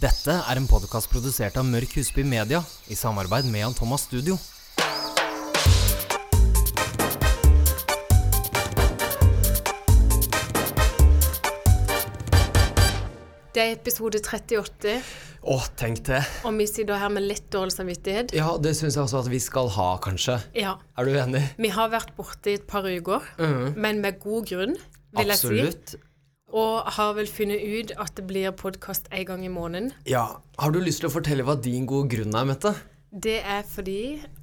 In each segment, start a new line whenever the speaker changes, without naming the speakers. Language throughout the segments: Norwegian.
Dette er en podkast produsert av Mørk Husby Media i samarbeid med Jan Thomas Studio.
Det er episode 38,
Å, tenk det.
og vi sitter her med litt dårlig samvittighet.
Ja, det syns jeg også at vi skal ha, kanskje.
Ja.
Er du enig?
Vi har vært borte i et par uker, men med god grunn, vil jeg si.
Mm. Absolutt.
Og har vel funnet ut at det blir podkast en gang i måneden.
Ja. Har du lyst til å fortelle hva din gode grunn er, Mette?
Det er fordi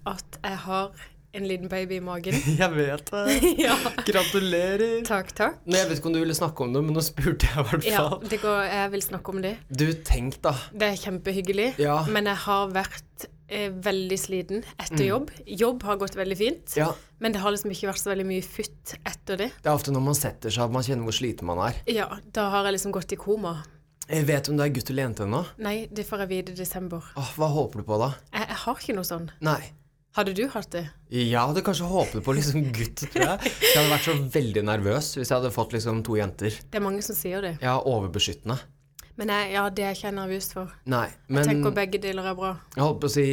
at jeg har en liten baby i magen.
Jeg vet det.
ja.
Gratulerer.
Takk, takk.
Nei, jeg vet ikke om du ville snakke om det, men nå spurte jeg i hvert
Ja,
fall.
det går, jeg vil snakke om det.
Du, tenk da.
Det er kjempehyggelig,
Ja.
men jeg har vært eh, veldig sliten etter jobb. Jobb har gått veldig fint,
Mm. Ja,
men det har liksom ikke vært så veldig mye futt etter det.
Det er ofte når man setter seg at man kjenner hvor sliten man er.
Ja, da har jeg liksom gått i koma.
Jeg vet om du er gutt eller jente ennå.
Nei, det får jeg vite i desember.
Åh, Hva håper du på, da?
Jeg, jeg har ikke noe sånn.
Nei.
Hadde du hatt det?
Jeg hadde kanskje håpet på liksom gutt, tror jeg. Jeg hadde vært så veldig nervøs hvis jeg hadde fått liksom to jenter.
Det er mange som sier det.
Jeg er overbeskyttende.
Men jeg, ja, det er jeg ikke jeg nervøs for.
Nei, men
Tenk om begge deler er bra.
Jeg holdt på å si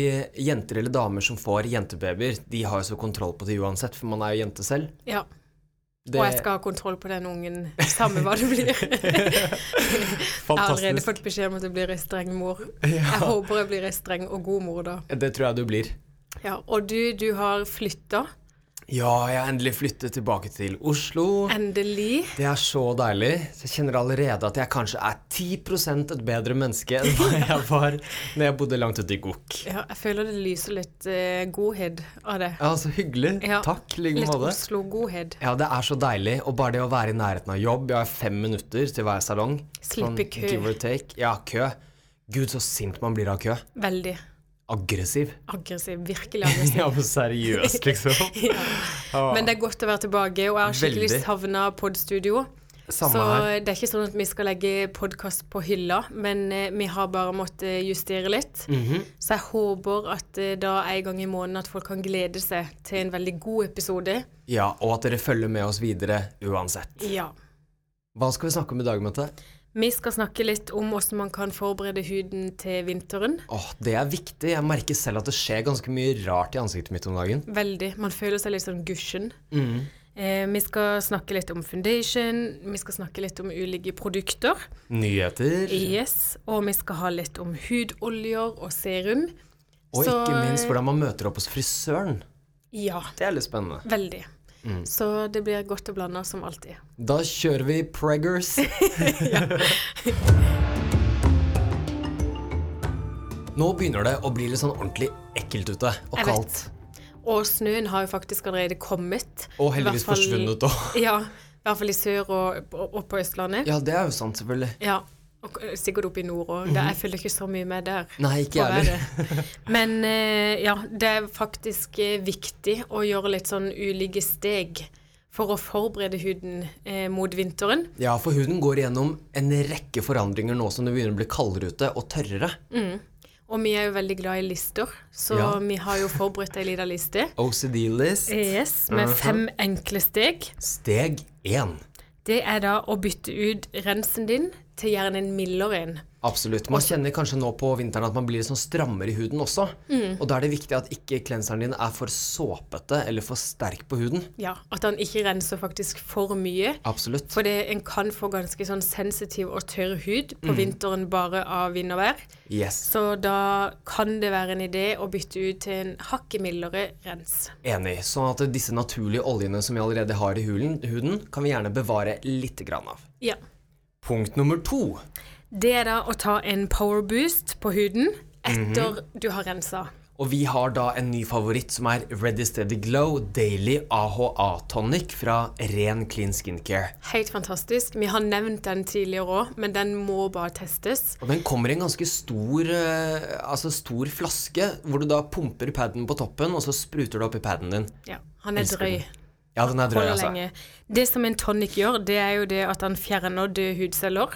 jenter eller damer som får jentebabyer, de har jo så kontroll på det uansett, for man er jo jente selv.
Ja,
Det
Og jeg skal ha kontroll på den ungen, samme hva du blir. Jeg har allerede fått beskjed om at jeg blir ei streng mor. Jeg håper jeg blir ei streng og god mor, da.
Det tror jeg du blir.
Ja, Og du, du har flytta.
Ja, jeg har endelig flyttet tilbake til Oslo.
Endelig.
Det er så deilig. Så jeg kjenner allerede at jeg kanskje er 10 et bedre menneske enn hva jeg var når jeg bodde langt ute i Gok.
Ja, jeg føler det lyser litt eh, godhet av det.
Ja, så hyggelig.
Ja,
Takk, i like
Litt
måte.
Oslo-godhet.
Ja, det er så deilig. Og bare det å være i nærheten av jobb. Jeg har fem minutter til hver salong. Sånn
Slippe kø.
Give or take. Ja, kø. Gud, så sint man blir av kø.
Veldig
Aggressiv.
aggressiv. Virkelig aggressiv.
Ja, men seriøst, liksom.
Men det er godt å være tilbake, og jeg har skikkelig
Veldig.
savna podstudio.
Samme
så
her.
det er ikke sånn at vi skal legge podkast på hylla, men eh, vi har bare måttet justere litt.
Mhm.
Så jeg håper at eh, da en gang i måneden at folk kan glede seg til en veldig god episode.
Ja, og at dere følger med oss videre uansett.
Ja.
Hva skal vi snakke om i dag, Mette?
Vi skal snakke litt om hvordan man kan forberede huden til vinteren.
Åh, det er viktig. Jeg merker selv at det skjer ganske mye rart i ansiktet mitt om dagen.
Veldig. Man føler seg litt sånn gusjen.
Mhm.
Eh, vi skal snakke litt om foundation, vi skal snakke litt om ulike produkter.
Nyheter.
Yes, og vi skal ha litt om hudoljer og serum.
Og
Så-
ikke minst hvordan man møter opp hos frisøren.
Ja,
Det er litt spennende.
veldig.
Mm.
Så det blir godt å blande som alltid.
Da kjører vi preggers. Nå begynner det å bli litt sånn ordentlig ekkelt ute, og
Jeg
kaldt.
vet. Og snøen har jo faktisk allerede kommet.
Og heldigvis
I hvert fall-
forsvunnet også.
Ja, i hvert fall i sør og, og, og på Østlandet. Ja.
Ja, det er jo sant, selvfølgelig.
Og k- sikkert oppe i nord òg. Jeg følger ikke så mye med der.
Mhm. Nei, ikke jeg
på
heller.
været. Men eh, ja, det er faktisk eh, viktig å gjøre litt sånn ulike steg for å forberede huden eh, mot vinteren.
Ja, for huden går igjennom en rekke forandringer nå som det begynner å bli kaldere ute og tørrere.
Og vi er jo veldig glad i lister, så
Ja.
vi har jo forberedt ei lita liste.
OCD-list.
Yes, Med fem enkle steg.
Steg én.
Det er da å bytte ut rensen din til gjerne en mildere en.
Absolutt. Man kjenner kanskje nå på vinteren at man blir litt sånn strammere i huden også.
Mm.
Og da er det viktig at ikke klenseren din er for såpete eller for sterk på huden.
Ja, At han ikke renser faktisk for mye.
Absolutt.
For det, en kan få ganske sånn sensitiv og tørr hud på vinteren bare av vind og vær.
Yes.
Så da kan det være en idé å bytte ut til en hakket mildere rens.
Enig. Sånn at disse naturlige oljene som vi allerede har i hulen, huden, kan vi gjerne bevare litt grann av.
Ja.
Punkt nummer to.
Det er da å ta en power boost på huden etter du har rensa.
Og vi har da en ny favoritt som er Ready Steady Glow Daily AHA Tonic fra Ren Clean Skincare.
Helt fantastisk. Vi har nevnt den tidligere òg, men den må bare testes.
Og den kommer i en ganske stor, eh, altså stor flaske, hvor du da pumper paden på toppen, og så spruter du opp i paden din.
Ja, Han er
Elsker
drøy.
den. Ja, den er drøy,
Holder
altså.
lenge. Det som en tonic gjør, det er jo det at han fjerner døde hudceller,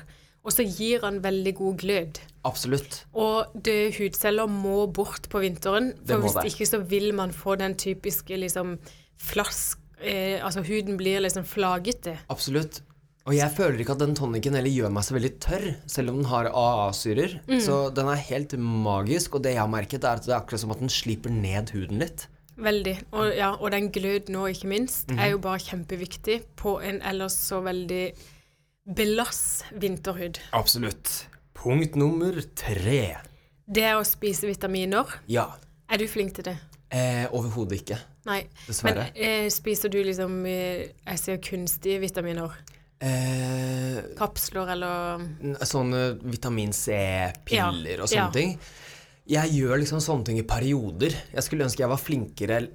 og så gir han veldig god glød.
Absolutt.
Og døde hudceller må bort på vinteren,
Det
for
må
hvis
det.
ikke så vil man få den typiske liksom flask... Eh, altså huden blir liksom flagete.
Absolutt. Og jeg føler ikke at den tonicen heller gjør meg så veldig tørr, selv om den har AA-syrer. Så den er helt magisk, og det jeg har merket, er at det er akkurat som at den sliper ned huden litt.
Veldig. Og, ja, og den glød nå, ikke minst,
Mhm.
er jo bare kjempeviktig på en ellers så veldig belass vinterhud.
Absolutt. Punkt nummer tre.
Det er å spise vitaminer.
Ja.
Er du flink til det?
Eh, Overhodet ikke.
Nei.
Dessverre.
Men eh, spiser du liksom eh, Jeg sier kunstige vitaminer.
Eh,
Kapsler eller um,
n- sånne vitamin C-piller
Ja,
og sånne
ja.
ting. Jeg gjør liksom sånne ting i perioder. Jeg skulle ønske jeg var flinkere l-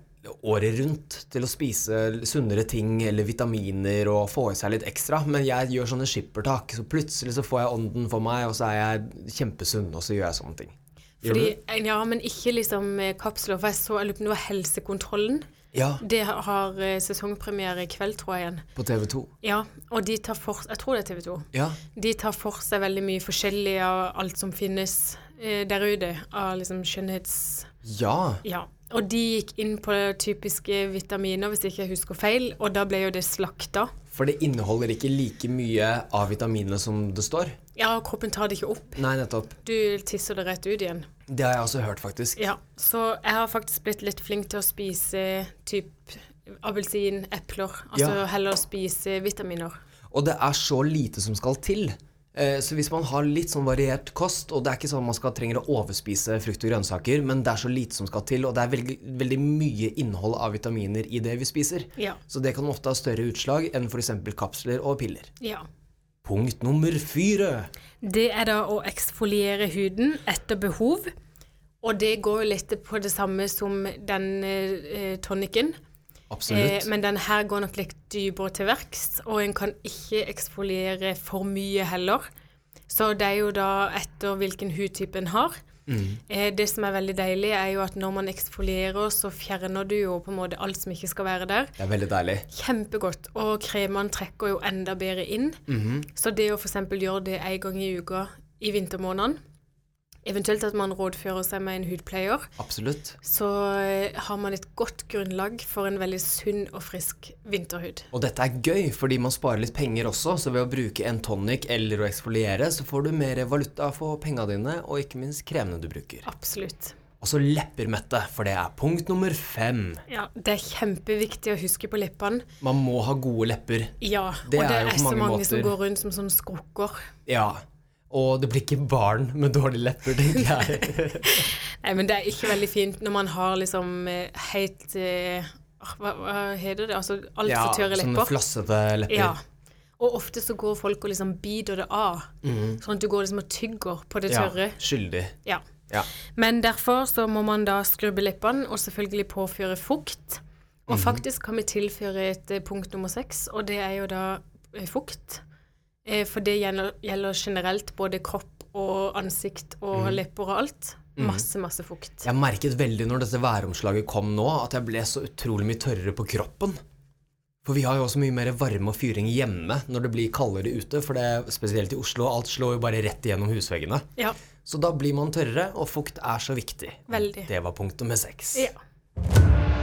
året rundt til å spise l- sunnere ting eller vitaminer og få i seg litt ekstra, men jeg gjør sånne skippertak. Så plutselig så får jeg ånden for meg, og så er jeg kjempesunn, og så gjør jeg sånne ting. Gjør
Fordi,
du?
ja, men ikke liksom eh, kapsler. For jeg så jeg lurer på om det var Helsekontrollen.
Ja,
Det har eh, sesongpremiere i kveld, tror jeg igjen.
på TV 2.
Ja, og de tar for Jeg tror det er TV 2.
Ja.
De tar for seg veldig mye forskjellig av alt som finnes eh, der ute av liksom skjønnhets...
ja.
Ja. Og de gikk inn på typiske vitaminer, hvis ikke jeg husker feil, og da ble jo det slakta.
For det inneholder ikke like mye av vitaminene som det står.
Ja, kroppen tar det ikke opp.
Nei, nettopp.
Du tisser det rett ut igjen.
Det har jeg også hørt, faktisk.
Ja, så jeg har faktisk blitt litt flink til å spise typ appelsin, epler. Altså
Ja.
heller spise vitaminer.
Og det er så lite som skal til. Eh, Så hvis man har litt sånn variert kost, og det er ikke sånn man skal trenger å overspise frukt og grønnsaker, men det er så lite som skal til, og det er veldig, veldig mye innhold av vitaminer i det vi spiser.
Ja.
Så det kan ofte ha større utslag enn f.eks. kapsler og piller.
Ja.
Punkt nummer fire.
Det er da å eksfoliere huden etter behov. Og det går jo litt på det samme som den eh, tonicen. Eh,
Absolutt.
men den her går nok litt dypere til verks, og en kan ikke eksfoliere for mye heller. Så det er jo da etter hvilken hudtype en har. Eh, det som er veldig deilig, er jo at når man eksfolierer, så fjerner du jo på en måte alt som ikke skal være der.
Det er veldig deilig.
Kjempegodt. Og kremene trekker jo enda bedre inn. Så det å f.eks. gjøre det en gang i uka i vintermånedene, eventuelt at man rådfører seg med en hudpleier,
Absolutt.
så eh, har man et godt grunnlag for en veldig sunn og frisk vinterhud.
Og dette er gøy, fordi man sparer litt penger også, så ved å bruke en tonic eller å eksfoliere, så får du mer valuta for penga dine, og ikke minst kremene du bruker.
Absolutt.
Og så lepper, Mette, for det er punkt nummer fem.
Ja, det er kjempeviktig å huske på leppene.
Man må ha gode lepper.
Ja,
Det
og det
er
er,
jo på
så
mange
mange som
måter-
går rundt som sånne skrukker.
Ja. Og det blir ikke barn med dårlige lepper, tenker jeg.
Nei, men det er ikke veldig fint når man har liksom eh, helt eh, ah, hva, hva heter det? Altså altfor
Ja,
tørre
sånne
lepper.
flassete lepper.
Ja. Og ofte så går folk og liksom biter det av. Sånn at du går liksom og tygger på det
Mm. Ja,
tørre.
skyldig.
Ja.
Ja.
Men derfor så må man da skrubbe leppene og selvfølgelig påføre fukt. Og faktisk kan vi tilføre et eh, punkt nummer seks, og det er jo da eh, fukt. Eh, For det gjelder, gjelder generelt både kropp og ansikt og lepper og alt. Masse, masse fukt.
Jeg merket veldig når dette væromslaget kom nå, at jeg ble så utrolig mye tørrere på kroppen. For vi har jo også mye mer varme og fyring hjemme når det blir kaldere ute, for det, spesielt i Oslo, alt slår jo bare rett igjennom husveggene.
Ja.
Så da blir man tørrere, og fukt er så viktig.
Veldig.
Det var punkt nummer seks.
ja.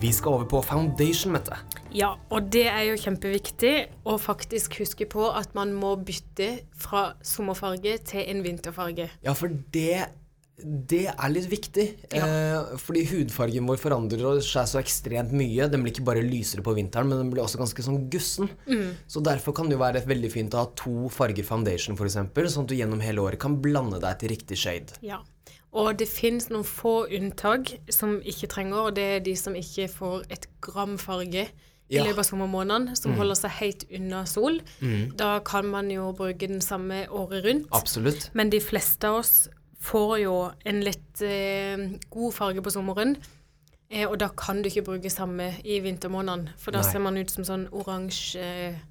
Vi skal over på foundation, Mette.
Ja, og det er jo kjempeviktig å faktisk huske på at man må bytte fra sommerfarge til en vinterfarge.
Ja, for det, det er litt viktig. Eh, fordi hudfargen vår forandrer seg så ekstremt mye. Den blir ikke bare lysere på vinteren, men den blir også ganske sånn gussen. Så derfor kan det jo være veldig fint å ha to farger foundation, f.eks., sånn at du gjennom hele året kan blande deg til riktig shade.
Ja. Og det finnes noen få unntak som ikke trenger, og det er de som ikke får et gram farge i
Ja. Mm.
løpet av sommermånedene, som holder seg helt unna sol. Da kan man jo bruke den samme året rundt.
Absolutt.
Men de fleste av oss får jo en litt eh, god farge på sommeren, eh, og da kan du ikke bruke samme i vintermånedene, for da
Nei.
ser man ut som sånn oransje eh,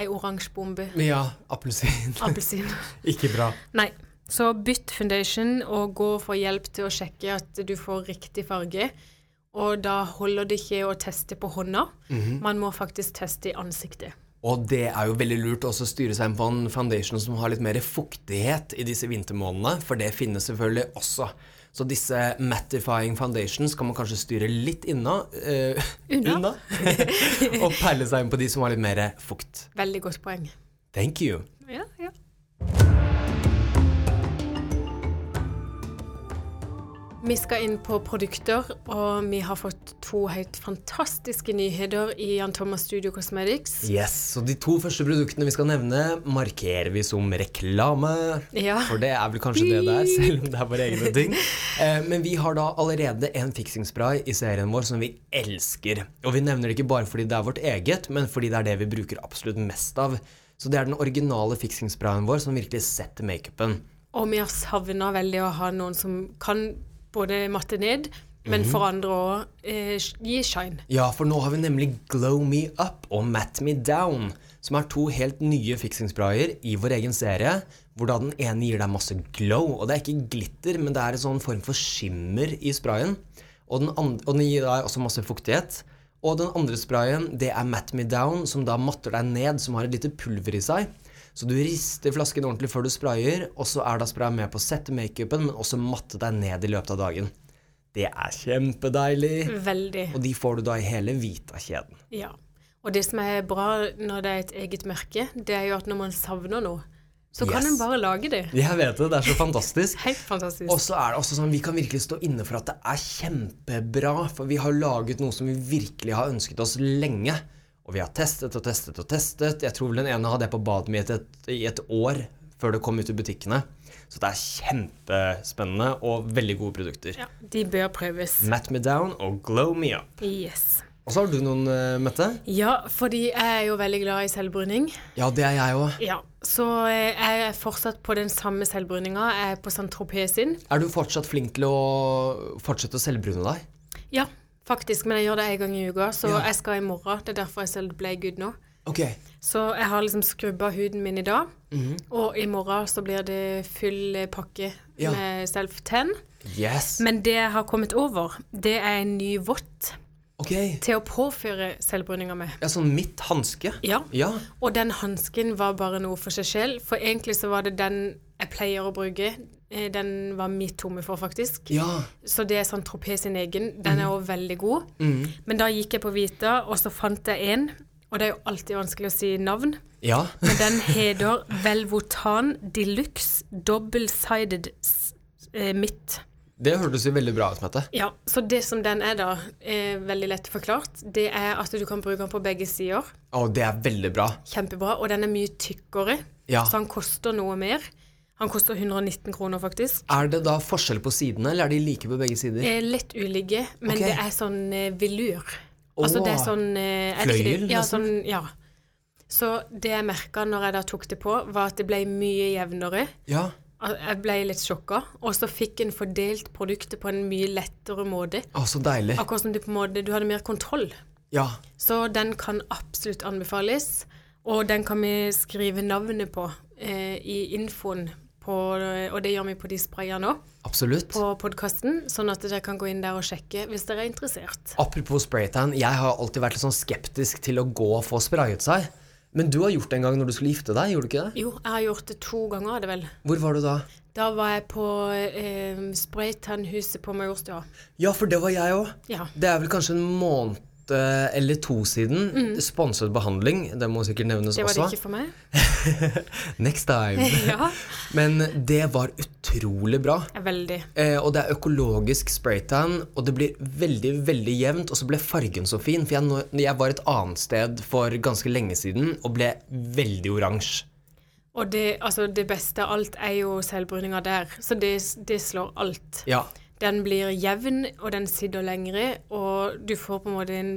Ei oransje bombe.
Ja, appelsin.
Appelsin.
ikke bra.
Nei. Så bytt foundation og gå for hjelp til å sjekke at du får riktig farge. Og da holder det ikke å teste på hånda. Man må faktisk teste i ansiktet.
Og det er jo veldig lurt også å styre seg inn på en foundation som har litt mer fuktighet i disse vintermånedene, for det finnes selvfølgelig også. Så disse mattifying foundations kan man kanskje styre litt inna, eh,
Unna.
og perle seg inn på de som har litt mer fukt.
Veldig godt poeng.
Thank you.
Ja, ja. Vi skal inn på produkter, og vi har fått to helt fantastiske nyheter i Jan Thomas Studio Cosmetics.
Yes, Så de to første produktene vi skal nevne, markerer vi som reklame.
Ja.
For det er vel kanskje det det er, selv om det er våre egne ting. Eh, Men vi har da allerede en fiksingspray i serien vår som vi elsker. Og vi nevner det ikke bare fordi det er vårt eget, men fordi det er det vi bruker absolutt mest av. Så det er den originale fiksingsprayen vår som virkelig setter makeupen.
Og vi har savna veldig å ha noen som kan både matte ned, men
Mhm.
for andre òg eh, gi shine.
Ja, for nå har vi nemlig Glow Me Up og Matt Me Down, som er to helt nye fiksingssprayer i vår egen serie, hvor da den ene gir deg masse glow, og det er ikke glitter, men det er en sånn form for skimmer i sprayen, og den, and- og den gir deg også masse fuktighet. Og den andre sprayen, det er Matt Me Down, som da matter deg ned, som har et lite pulver i seg. Så du rister flasken ordentlig før du sprayer, og så er da sprayen med på å sette makeupen, men også matte deg ned i løpet av dagen. Det er kjempedeilig.
Veldig.
Og de får du da i hele Vita-kjeden.
Ja. Og det som er bra når det er et eget merke, det er jo at når man savner noe, så kan
Yes.
en bare lage det.
Jeg vet det, det er så fantastisk.
Helt fantastisk.
Og så er det også sånn, Vi kan virkelig stå inne for at det er kjempebra, for vi har laget noe som vi virkelig har ønsket oss lenge. Og vi har testet og testet og testet. Jeg tror vel den ene hadde jeg på badet mitt et, i et år før det kom ut i butikkene. Så det er kjempespennende og veldig gode produkter.
Ja, de bør prøves.
Matt me down og glow me up.
Yes.
Og så har du noen, eh, Mette?
Ja, fordi jeg er jo veldig glad i selvbruning.
Ja, det er jeg òg.
Ja. Så eh, jeg er fortsatt på den samme selvbruninga. Jeg er på Saint-Tropez sin.
Er du fortsatt flink til å fortsette å selvbrune deg?
Ja, faktisk. Men jeg gjør det en gang i uka, så
Ja.
jeg skal i morgen. Det er derfor jeg selv ble good nå.
Ok.
Så jeg har liksom skrubba huden min i dag.
Mhm.
Og i morgen så blir det full eh, pakke
Ja.
med self-ten.
Yes.
Men det jeg har kommet over, det er en ny vått
Ok.
til å påføre selvbruninga med.
Ja, sånn mitt hanske?
Ja.
Ja.
Og den hansken var bare noe for seg selv, for egentlig så var det den jeg pleier å bruke. Eh, Den var mitt tomme for, faktisk.
Ja. Mhm.
Så det er sånn Tropé sin egen. Den er òg veldig god. Men da gikk jeg på Vita, og så fant jeg en, og det er jo alltid vanskelig å si navn.
Ja.
Men den heter Velvotan Deluxe Double-Sided s- eh, Mitt.
Det hørtes jo veldig bra ut, Mette.
Ja, så det som den er da, er veldig lett forklart, det er at du kan bruke den på begge sider.
Å, det er veldig bra.
Kjempebra, og den er mye tykkere,
Ja.
så han koster noe mer. Han koster 119 kroner, faktisk.
Er det da forskjell på sidene, eller er de like på begge sider?
Eh, lett ulike, men
Ok.
det er sånn eh, velur. Altså det er
Åh.
sånn eh, er det ikke
Fløyel,
det? Ja,
nesten.
sånn, ja. Så det jeg merka når jeg da tok det på, var at det ble mye jevnere.
Ja.
Al- Jeg ble litt sjokka, og så fikk en fordelt produktet på en mye lettere måte.
Å, så deilig.
Akkurat som du på en måte Du hadde mer kontroll.
Ja.
Så den kan absolutt anbefales, og den kan vi skrive navnet på eh, i infoen, på, eh, og det gjør vi på de sprayene òg,
Absolutt.
på podkasten, sånn at dere kan gå inn der og sjekke hvis dere er interessert.
Apropos spraytan, jeg har alltid vært litt sånn skeptisk til å gå og få sprayet seg. Men du har gjort det en gang når du skulle gifte deg, gjorde du ikke det?
Jo, jeg har gjort det to ganger, er det vel.
Hvor var du da?
Da var jeg på eh, spraytannhuset på Majorstua.
Ja, for det var jeg òg.
Ja.
Det er vel kanskje en måned eh, eller to siden. Sponset behandling, det må sikkert nevnes
Mm. Det var det
også.
ikke for meg.
Next time.
Ja,
Men det var utrolig bra.
veldig.
Eh, og det er økologisk spraytan, og det blir veldig veldig jevnt. Og så ble fargen så fin, for jeg, nå- jeg var et annet sted for ganske lenge siden og ble veldig oransje.
Og det, altså det beste av alt er jo selvbruninga der, så det, det slår alt.
Ja.
Den blir jevn, og den sitter lengre, og du får på en måte en,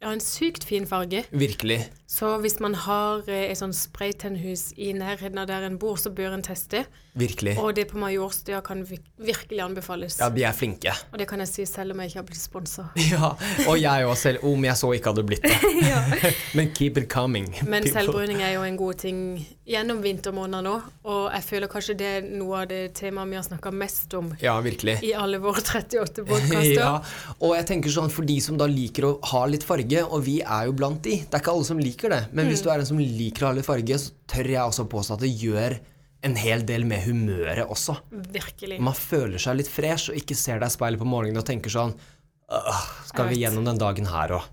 ja, en sykt fin farge.
Virkelig.
Så hvis man har eh, et sånn spraytennhus i nærheten av der en bor, så bør en teste.
Virkelig.
Og det på Majorstua kan vir- virkelig anbefales.
Ja, de er flinke.
Og det kan jeg si selv om jeg ikke har blitt sponsa.
Ja, Og jeg òg selv, om jeg så ikke hadde blitt det.
Ja.
Men keep it coming.
Men
people.
selvbruning er jo en god ting gjennom vintermåneder nå, og jeg føler kanskje det er noe av det temaet vi har snakka mest om
Ja, virkelig.
i alle våre 38 podkaster.
Ja, og jeg tenker sånn For de som da liker å ha litt farge, og vi er jo blant de Det er ikke alle som liker det, men hvis du er en som liker å ha litt farge, så tør jeg også påstå at det gjør en hel del med humøret også.
Virkelig.
Man føler seg litt fresh og ikke ser deg i speilet på morgenen og tenker sånn «Åh, Skal vi
Jeg vet.
gjennom den dagen her òg?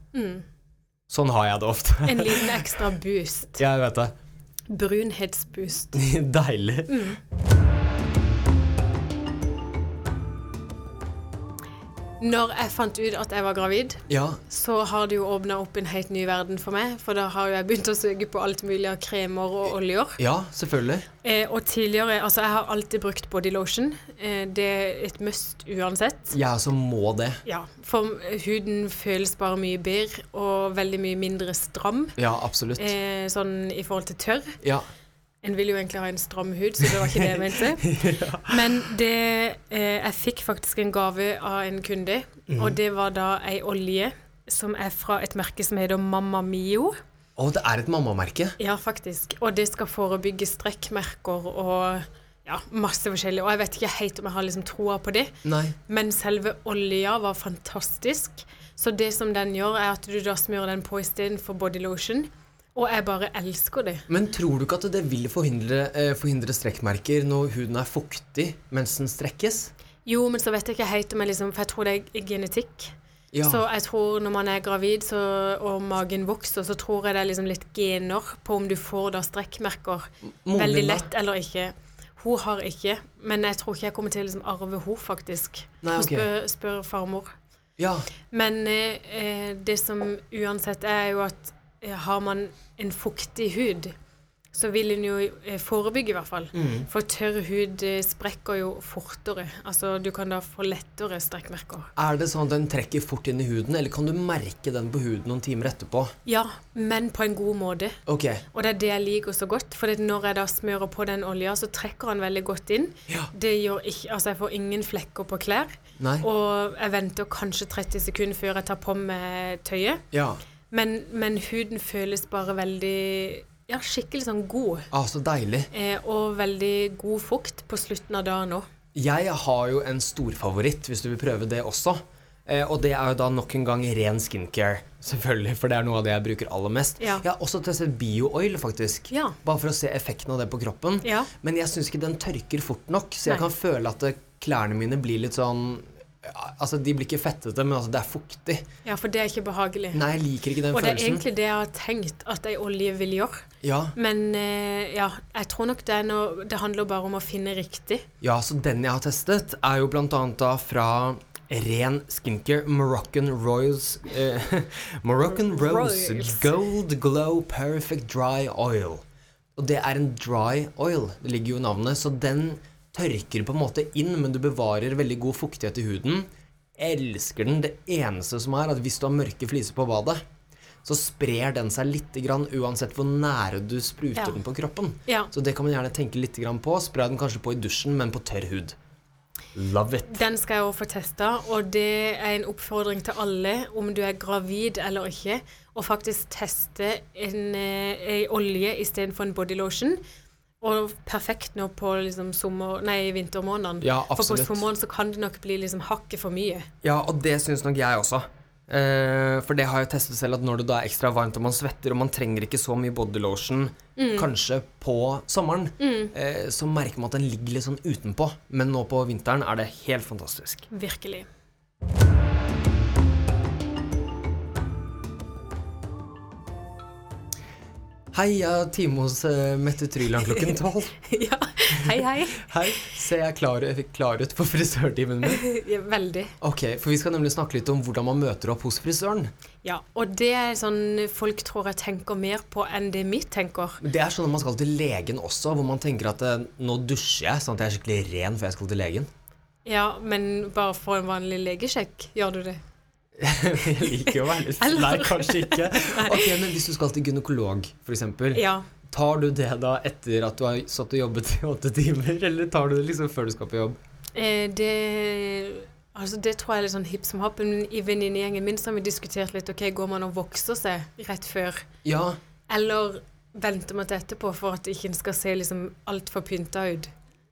Sånn har jeg det ofte.
En liten ekstra boost.
Jeg vet det.
Brunhetsboost.
Deilig.
Når jeg fant ut at jeg var gravid,
Ja.
så har det jo åpna opp en helt ny verden for meg. For da har jo jeg begynt å søke på alt mulig av kremer og oljer.
ja, selvfølgelig.
Eh, og tidligere Altså, jeg har alltid brukt body lotion. Eh, det er et must uansett.
Jeg også må det.
Ja, for huden føles bare mye bedre og veldig mye mindre stram.
Ja, absolutt.
Eh, sånn i forhold til tørr.
Ja.
En vil jo egentlig ha en stram hud, så det var ikke det jeg mente. Men det, eh, jeg fikk faktisk en gave av en kunde, og det var da ei olje som er fra et merke som heter Mamma Mio.
Å, det er et mammamerke.
Ja, faktisk. Og det skal forebygge strekkmerker og ja, masse forskjellig. Og jeg vet ikke helt om jeg har liksom troa på det,
Nei.
men selve olja var fantastisk. Så det som den gjør, er at du da smører den på istedenfor body lotion. Og jeg bare elsker det.
Men tror du ikke at det vil forhindre, eh, forhindre strekkmerker når huden er fuktig mens den strekkes?
Jo, men så vet jeg ikke helt om jeg liksom For jeg tror det er genetikk.
Ja.
Så jeg tror når man er gravid så, og magen vokser, så tror jeg det er liksom litt gener på om du får da strekkmerker
Moren
veldig
din da?
lett eller ikke. Hun har ikke, men jeg tror ikke jeg kommer til å liksom arve hun faktisk.
Nei, ok.
Hun spør, spør farmor.
ja.
Men eh, eh, det som uansett er jo at eh, har man en fuktig hud, så vil en jo eh, forebygge i hvert fall.
Mm.
For tørr hud eh, sprekker jo fortere. Altså du kan da få lettere strekkmerker.
Er det sånn at den trekker fort inn i huden, eller kan du merke den på huden noen timer etterpå?
Ja, men på en god måte.
Ok.
Og det er det jeg liker så godt, for når jeg da smører på den olja, så trekker han veldig godt inn.
Ja.
Det gjør ikke, altså jeg får ingen flekker på klær,
Nei.
og jeg venter kanskje 30 sekunder før jeg tar på meg tøyet.
Ja.
Men, men huden føles bare veldig, ja, skikkelig sånn god,
Ah, så deilig.
eh, og veldig god fukt på slutten av dagen også.
Jeg har jo en storfavoritt, hvis du vil prøve det også. Eh, og det er jo da nok en gang ren skincare, selvfølgelig, for det er noe av det jeg bruker aller mest.
Ja.
Jeg har også testet bio-oil, faktisk,
Ja.
bare for å se effekten av det på kroppen.
Ja.
Men jeg syns ikke den tørker fort nok, så jeg
Nei.
kan føle at eh, klærne mine blir litt sånn ja, Altså, de blir ikke fettete, men altså, det er fuktig.
Ja, for det er ikke behagelig.
Nei, jeg liker ikke den
og det er
følelsen.
egentlig det jeg har tenkt at ei olje vil gjøre.
Ja.
Men eh, ja, jeg tror nok det, er noe, det handler bare om å finne riktig.
Ja, så den jeg har testet er jo blant annet da fra ren skincare Moroccan Royals eh, Moroccan Rose
Royals.
Gold Glow Perfect Dry Oil. Og det er en dry oil, det ligger jo i navnet, så den tørker på en måte inn, men du bevarer veldig god fuktighet i huden. Elsker den. Det eneste som er at hvis du har mørke fliser på badet, så sprer den seg litt grann, uansett hvor nære du spruter
Ja.
den på kroppen.
Ja.
Så det kan man gjerne tenke litt grann på. Spray den kanskje på i dusjen, men på tørr hud. Love it.
Den skal jeg også få testa, og det er en oppfordring til alle, om du er gravid eller ikke, å faktisk teste en, eh, ei olje istedenfor en bodylotion. Og perfekt nå på liksom sommer, nei, vintermånedene.
Ja,
For på
absolutt.
sommeren så kan det nok bli liksom hakket for mye.
Ja, og det syns nok jeg også. Eh, for det har jeg testet selv, at når det da er ekstra varmt og man svetter, og man trenger ikke så mye bodylotion kanskje på sommeren, eh, så merker man at den ligger litt sånn utenpå. Men nå på vinteren er det helt fantastisk.
Virkelig.
Hei, jeg er time hos eh, Mette Tryland klokken tolv.
ja. Hei, hei.
Hei, ser jeg klar, klar ut på frisørtimen min?
Ja, Veldig.
Ok, for vi skal nemlig snakke litt om hvordan man møter opp hos frisøren.
Ja. Og det er sånn folk tror jeg tenker mer på enn det mitt tenker.
Men Det er sånn at man skal til legen også, hvor man tenker at eh, nå dusjer jeg, sånn at jeg er skikkelig ren før jeg skal til legen.
Ja, men bare for en vanlig legesjekk, gjør du det?
Jeg liker jo å være litt
Eller-
Nei, kanskje ikke. Ok, Men hvis du skal til gynekolog, f.eks.,
Ja.
tar du det da etter at du har satt og jobbet i åtte timer, eller tar du det liksom før du skal på jobb?
Eh, det Altså det tror jeg er litt sånn hipp som happ, men i venninnegjengen min så har vi diskutert litt ok, går man og vokser seg rett før,
Ja,
eller venter man til etterpå for at ikke en skal se liksom altfor pynta ut?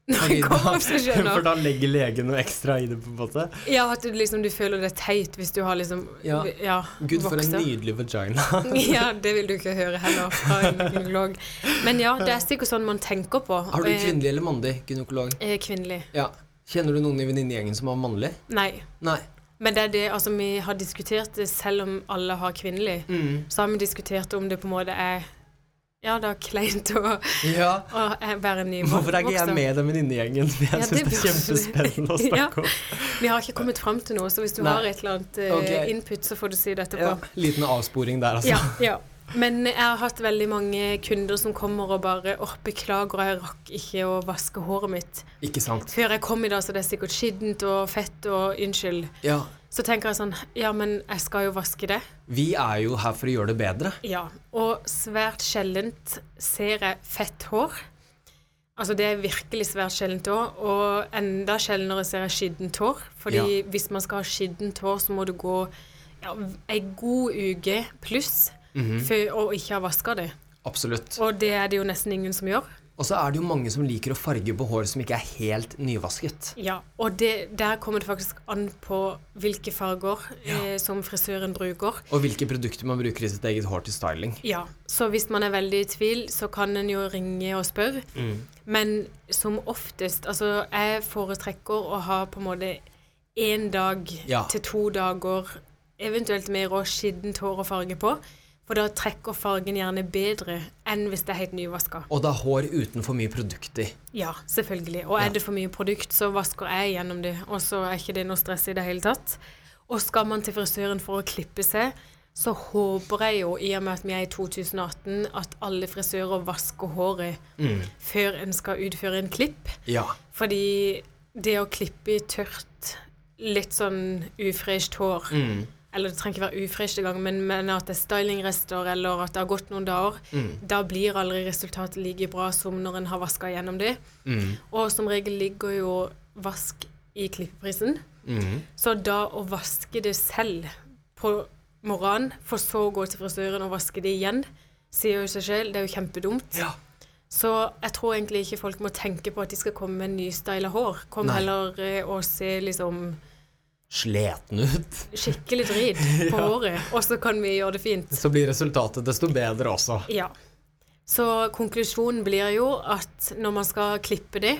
Når det kommer opp, så
For
skjønner
da legger legen noe ekstra i det, på en måte.
Ja, at du liksom du føler det er teit hvis du har liksom
Ja.
ja
Gud, for en
vokser.
Nydelig vagina.
Ja, det vil du ikke høre heller fra en gynekolog. Men ja, det er sikkert sånn man tenker på.
Har du
Eh,
kvinnelig eller mannlig gynekolog?
eh, Kvinnelig.
Ja. Kjenner du noen i venninnegjengen som har mannlig?
Nei.
Nei.
Men det er det, altså vi har diskutert det selv om alle har kvinnelig.
Mm.
Så har vi diskutert om det på en måte er Ja, det er kleint å,
Ja.
å eh, være nybakt.
Hvorfor er ikke jeg med i den venninnegjengen? For
Ja,
jeg syns det er
det burde du.
kjempespennende å snakke om.
Vi har ikke kommet fram til noe, så hvis du
Nei.
har et eller annet eh,
Ok.
input, så får du si det etterpå.
ja. Liten avsporing der, altså.
Ja, ja. Men jeg har hatt veldig mange kunder som kommer og bare åh, beklager, jeg rakk ikke å vaske håret mitt.
Ikke sant.
Før jeg kom i dag, så det er sikkert skittent og fett og unnskyld.
Ja.
Så tenker jeg sånn, ja, men jeg skal jo vaske det.
Vi er jo her for å gjøre det bedre.
Ja, og svært sjeldent ser jeg fett hår. Altså det er virkelig svært sjeldent òg, og enda sjeldnere ser jeg skittent hår. Fordi
Ja.
hvis man skal ha skittent hår, så må du gå ja, ei god uke pluss for å ikke ha vaska det.
Absolutt.
Og det er det jo nesten ingen som gjør.
Og så er det jo mange som liker å farge på hår som ikke er helt nyvasket.
Ja, Og det, der kommer det faktisk an på hvilke farger eh, som frisøren bruker.
Og hvilke produkter man bruker i sitt eget hår til styling.
Ja, så hvis man er veldig i tvil, så kan en jo ringe og spørre. Men som oftest, altså jeg foretrekker å ha på en måte én dag
Ja.
til to dager, eventuelt mer og skittent hår og farge på. For da trekker fargen gjerne bedre enn hvis det er helt nyvaska.
Og det er hår uten for mye produkt i.
Ja, selvfølgelig. Og er det for mye produkt, så vasker jeg gjennom det, og så er ikke det noe stress i det hele tatt. Og skal man til frisøren for å klippe seg, så håper jeg jo, i og med at vi er i 2018, at alle frisører vasker håret før en skal utføre en klipp.
Ja.
Fordi det å klippe i tørt, litt sånn ufresht hår Eller det trenger ikke være ufresht engang, men, men at det er stylingrester eller at det har gått noen dager, da blir aldri resultatet like bra som når en har vaska gjennom det. Og som regel ligger jo vask i klippeprisen. Så da å vaske det selv på morgenen, for så å gå til frisøren og vaske det igjen, sier jo seg selv, det er jo kjempedumt.
ja.
Så jeg tror egentlig ikke folk må tenke på at de skal komme med nystyla hår. Kom
Nei.
heller eh, og se liksom
Sleten ut.
skikkelig drit på håret, og så kan vi gjøre det fint.
Så blir resultatet desto bedre også.
Ja. Så konklusjonen blir jo at når man skal klippe det,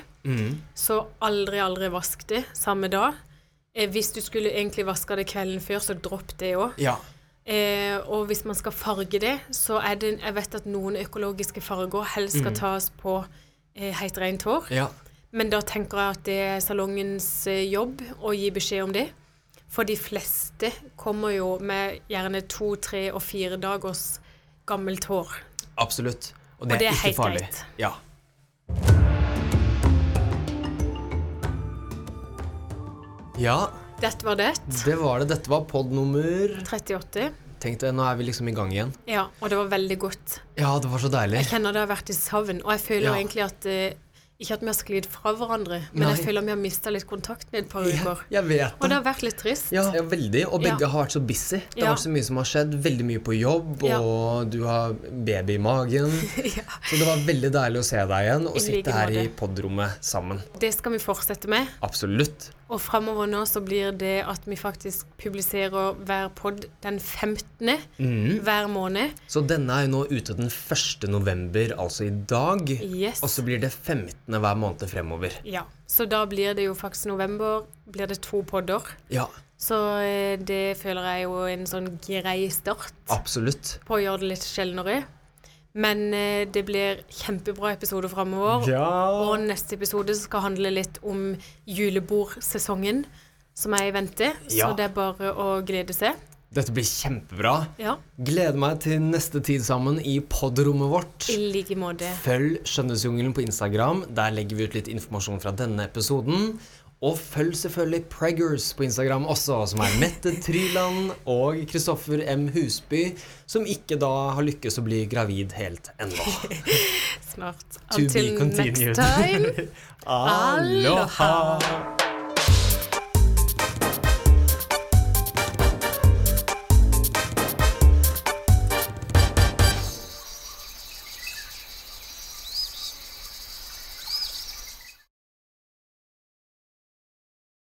så aldri, aldri vask det samme dag. Eh, Hvis du skulle egentlig vaske det kvelden før, så dropp det òg.
Ja.
Eh, og hvis man skal farge det, så er det Jeg vet at noen økologiske farger helst skal tas på eh, helt rent hår.
Ja.
Men da tenker jeg at det er salongens eh, jobb å gi beskjed om det. For de fleste kommer jo med gjerne to, tre og fire dagers gammelt hår.
Absolutt. Og
det er helt greit.
Ja. Ja,
Dette var det.
det var det. Dette var pod nummer
38.
Tenk deg, nå er vi liksom i gang igjen.
Ja, og det var veldig godt.
Ja, det var så deilig.
Jeg kjenner det har vært i savn, og jeg føler
Ja.
egentlig at eh, Ikke at vi har sklidd fra hverandre, men
Nei.
jeg føler vi har mista litt kontakten i et par uker.
Jeg vet
Og det har vært litt trist.
Ja, ja, veldig. Og begge
Ja.
har vært så busy. Det har
Ja.
vært så mye som har skjedd. Veldig mye på jobb,
Ja.
og du har baby i magen. Så det var veldig deilig å se deg igjen og
I like
sitte her i
måte.
podrommet sammen.
Det skal vi fortsette med.
Absolutt.
Og fremover nå så blir det at vi faktisk publiserer hver pod den 15.
Mm.
hver måned.
Så denne er jo nå ute den 1. november, altså i dag.
Yes.
Og så blir det 15. hver måned fremover.
Ja. Så da blir det jo faktisk november, blir det to podder.
Ja,
Så eh, det føler jeg er jo en sånn grei start
absolutt.
på å gjøre det litt sjeldnere. Men eh, det blir kjempebra episoder fremover.
Ja.
Og neste episode skal handle litt om julebordsesongen som er i vente.
Ja.
Så det er bare å glede seg.
Dette blir kjempebra.
Ja,
Gleder meg til neste tid sammen i podrommet vårt.
i like måte.
Følg Skjønnhetsjungelen på Instagram. Der legger vi ut litt informasjon fra denne episoden. Og følg selvfølgelig Preggers på Instagram også, som er Mette Tryland og Kristoffer M. Husby, som ikke da har lykkes å bli gravid helt ennå.
snart.
To be
Until next
continued.
time.
Aloha!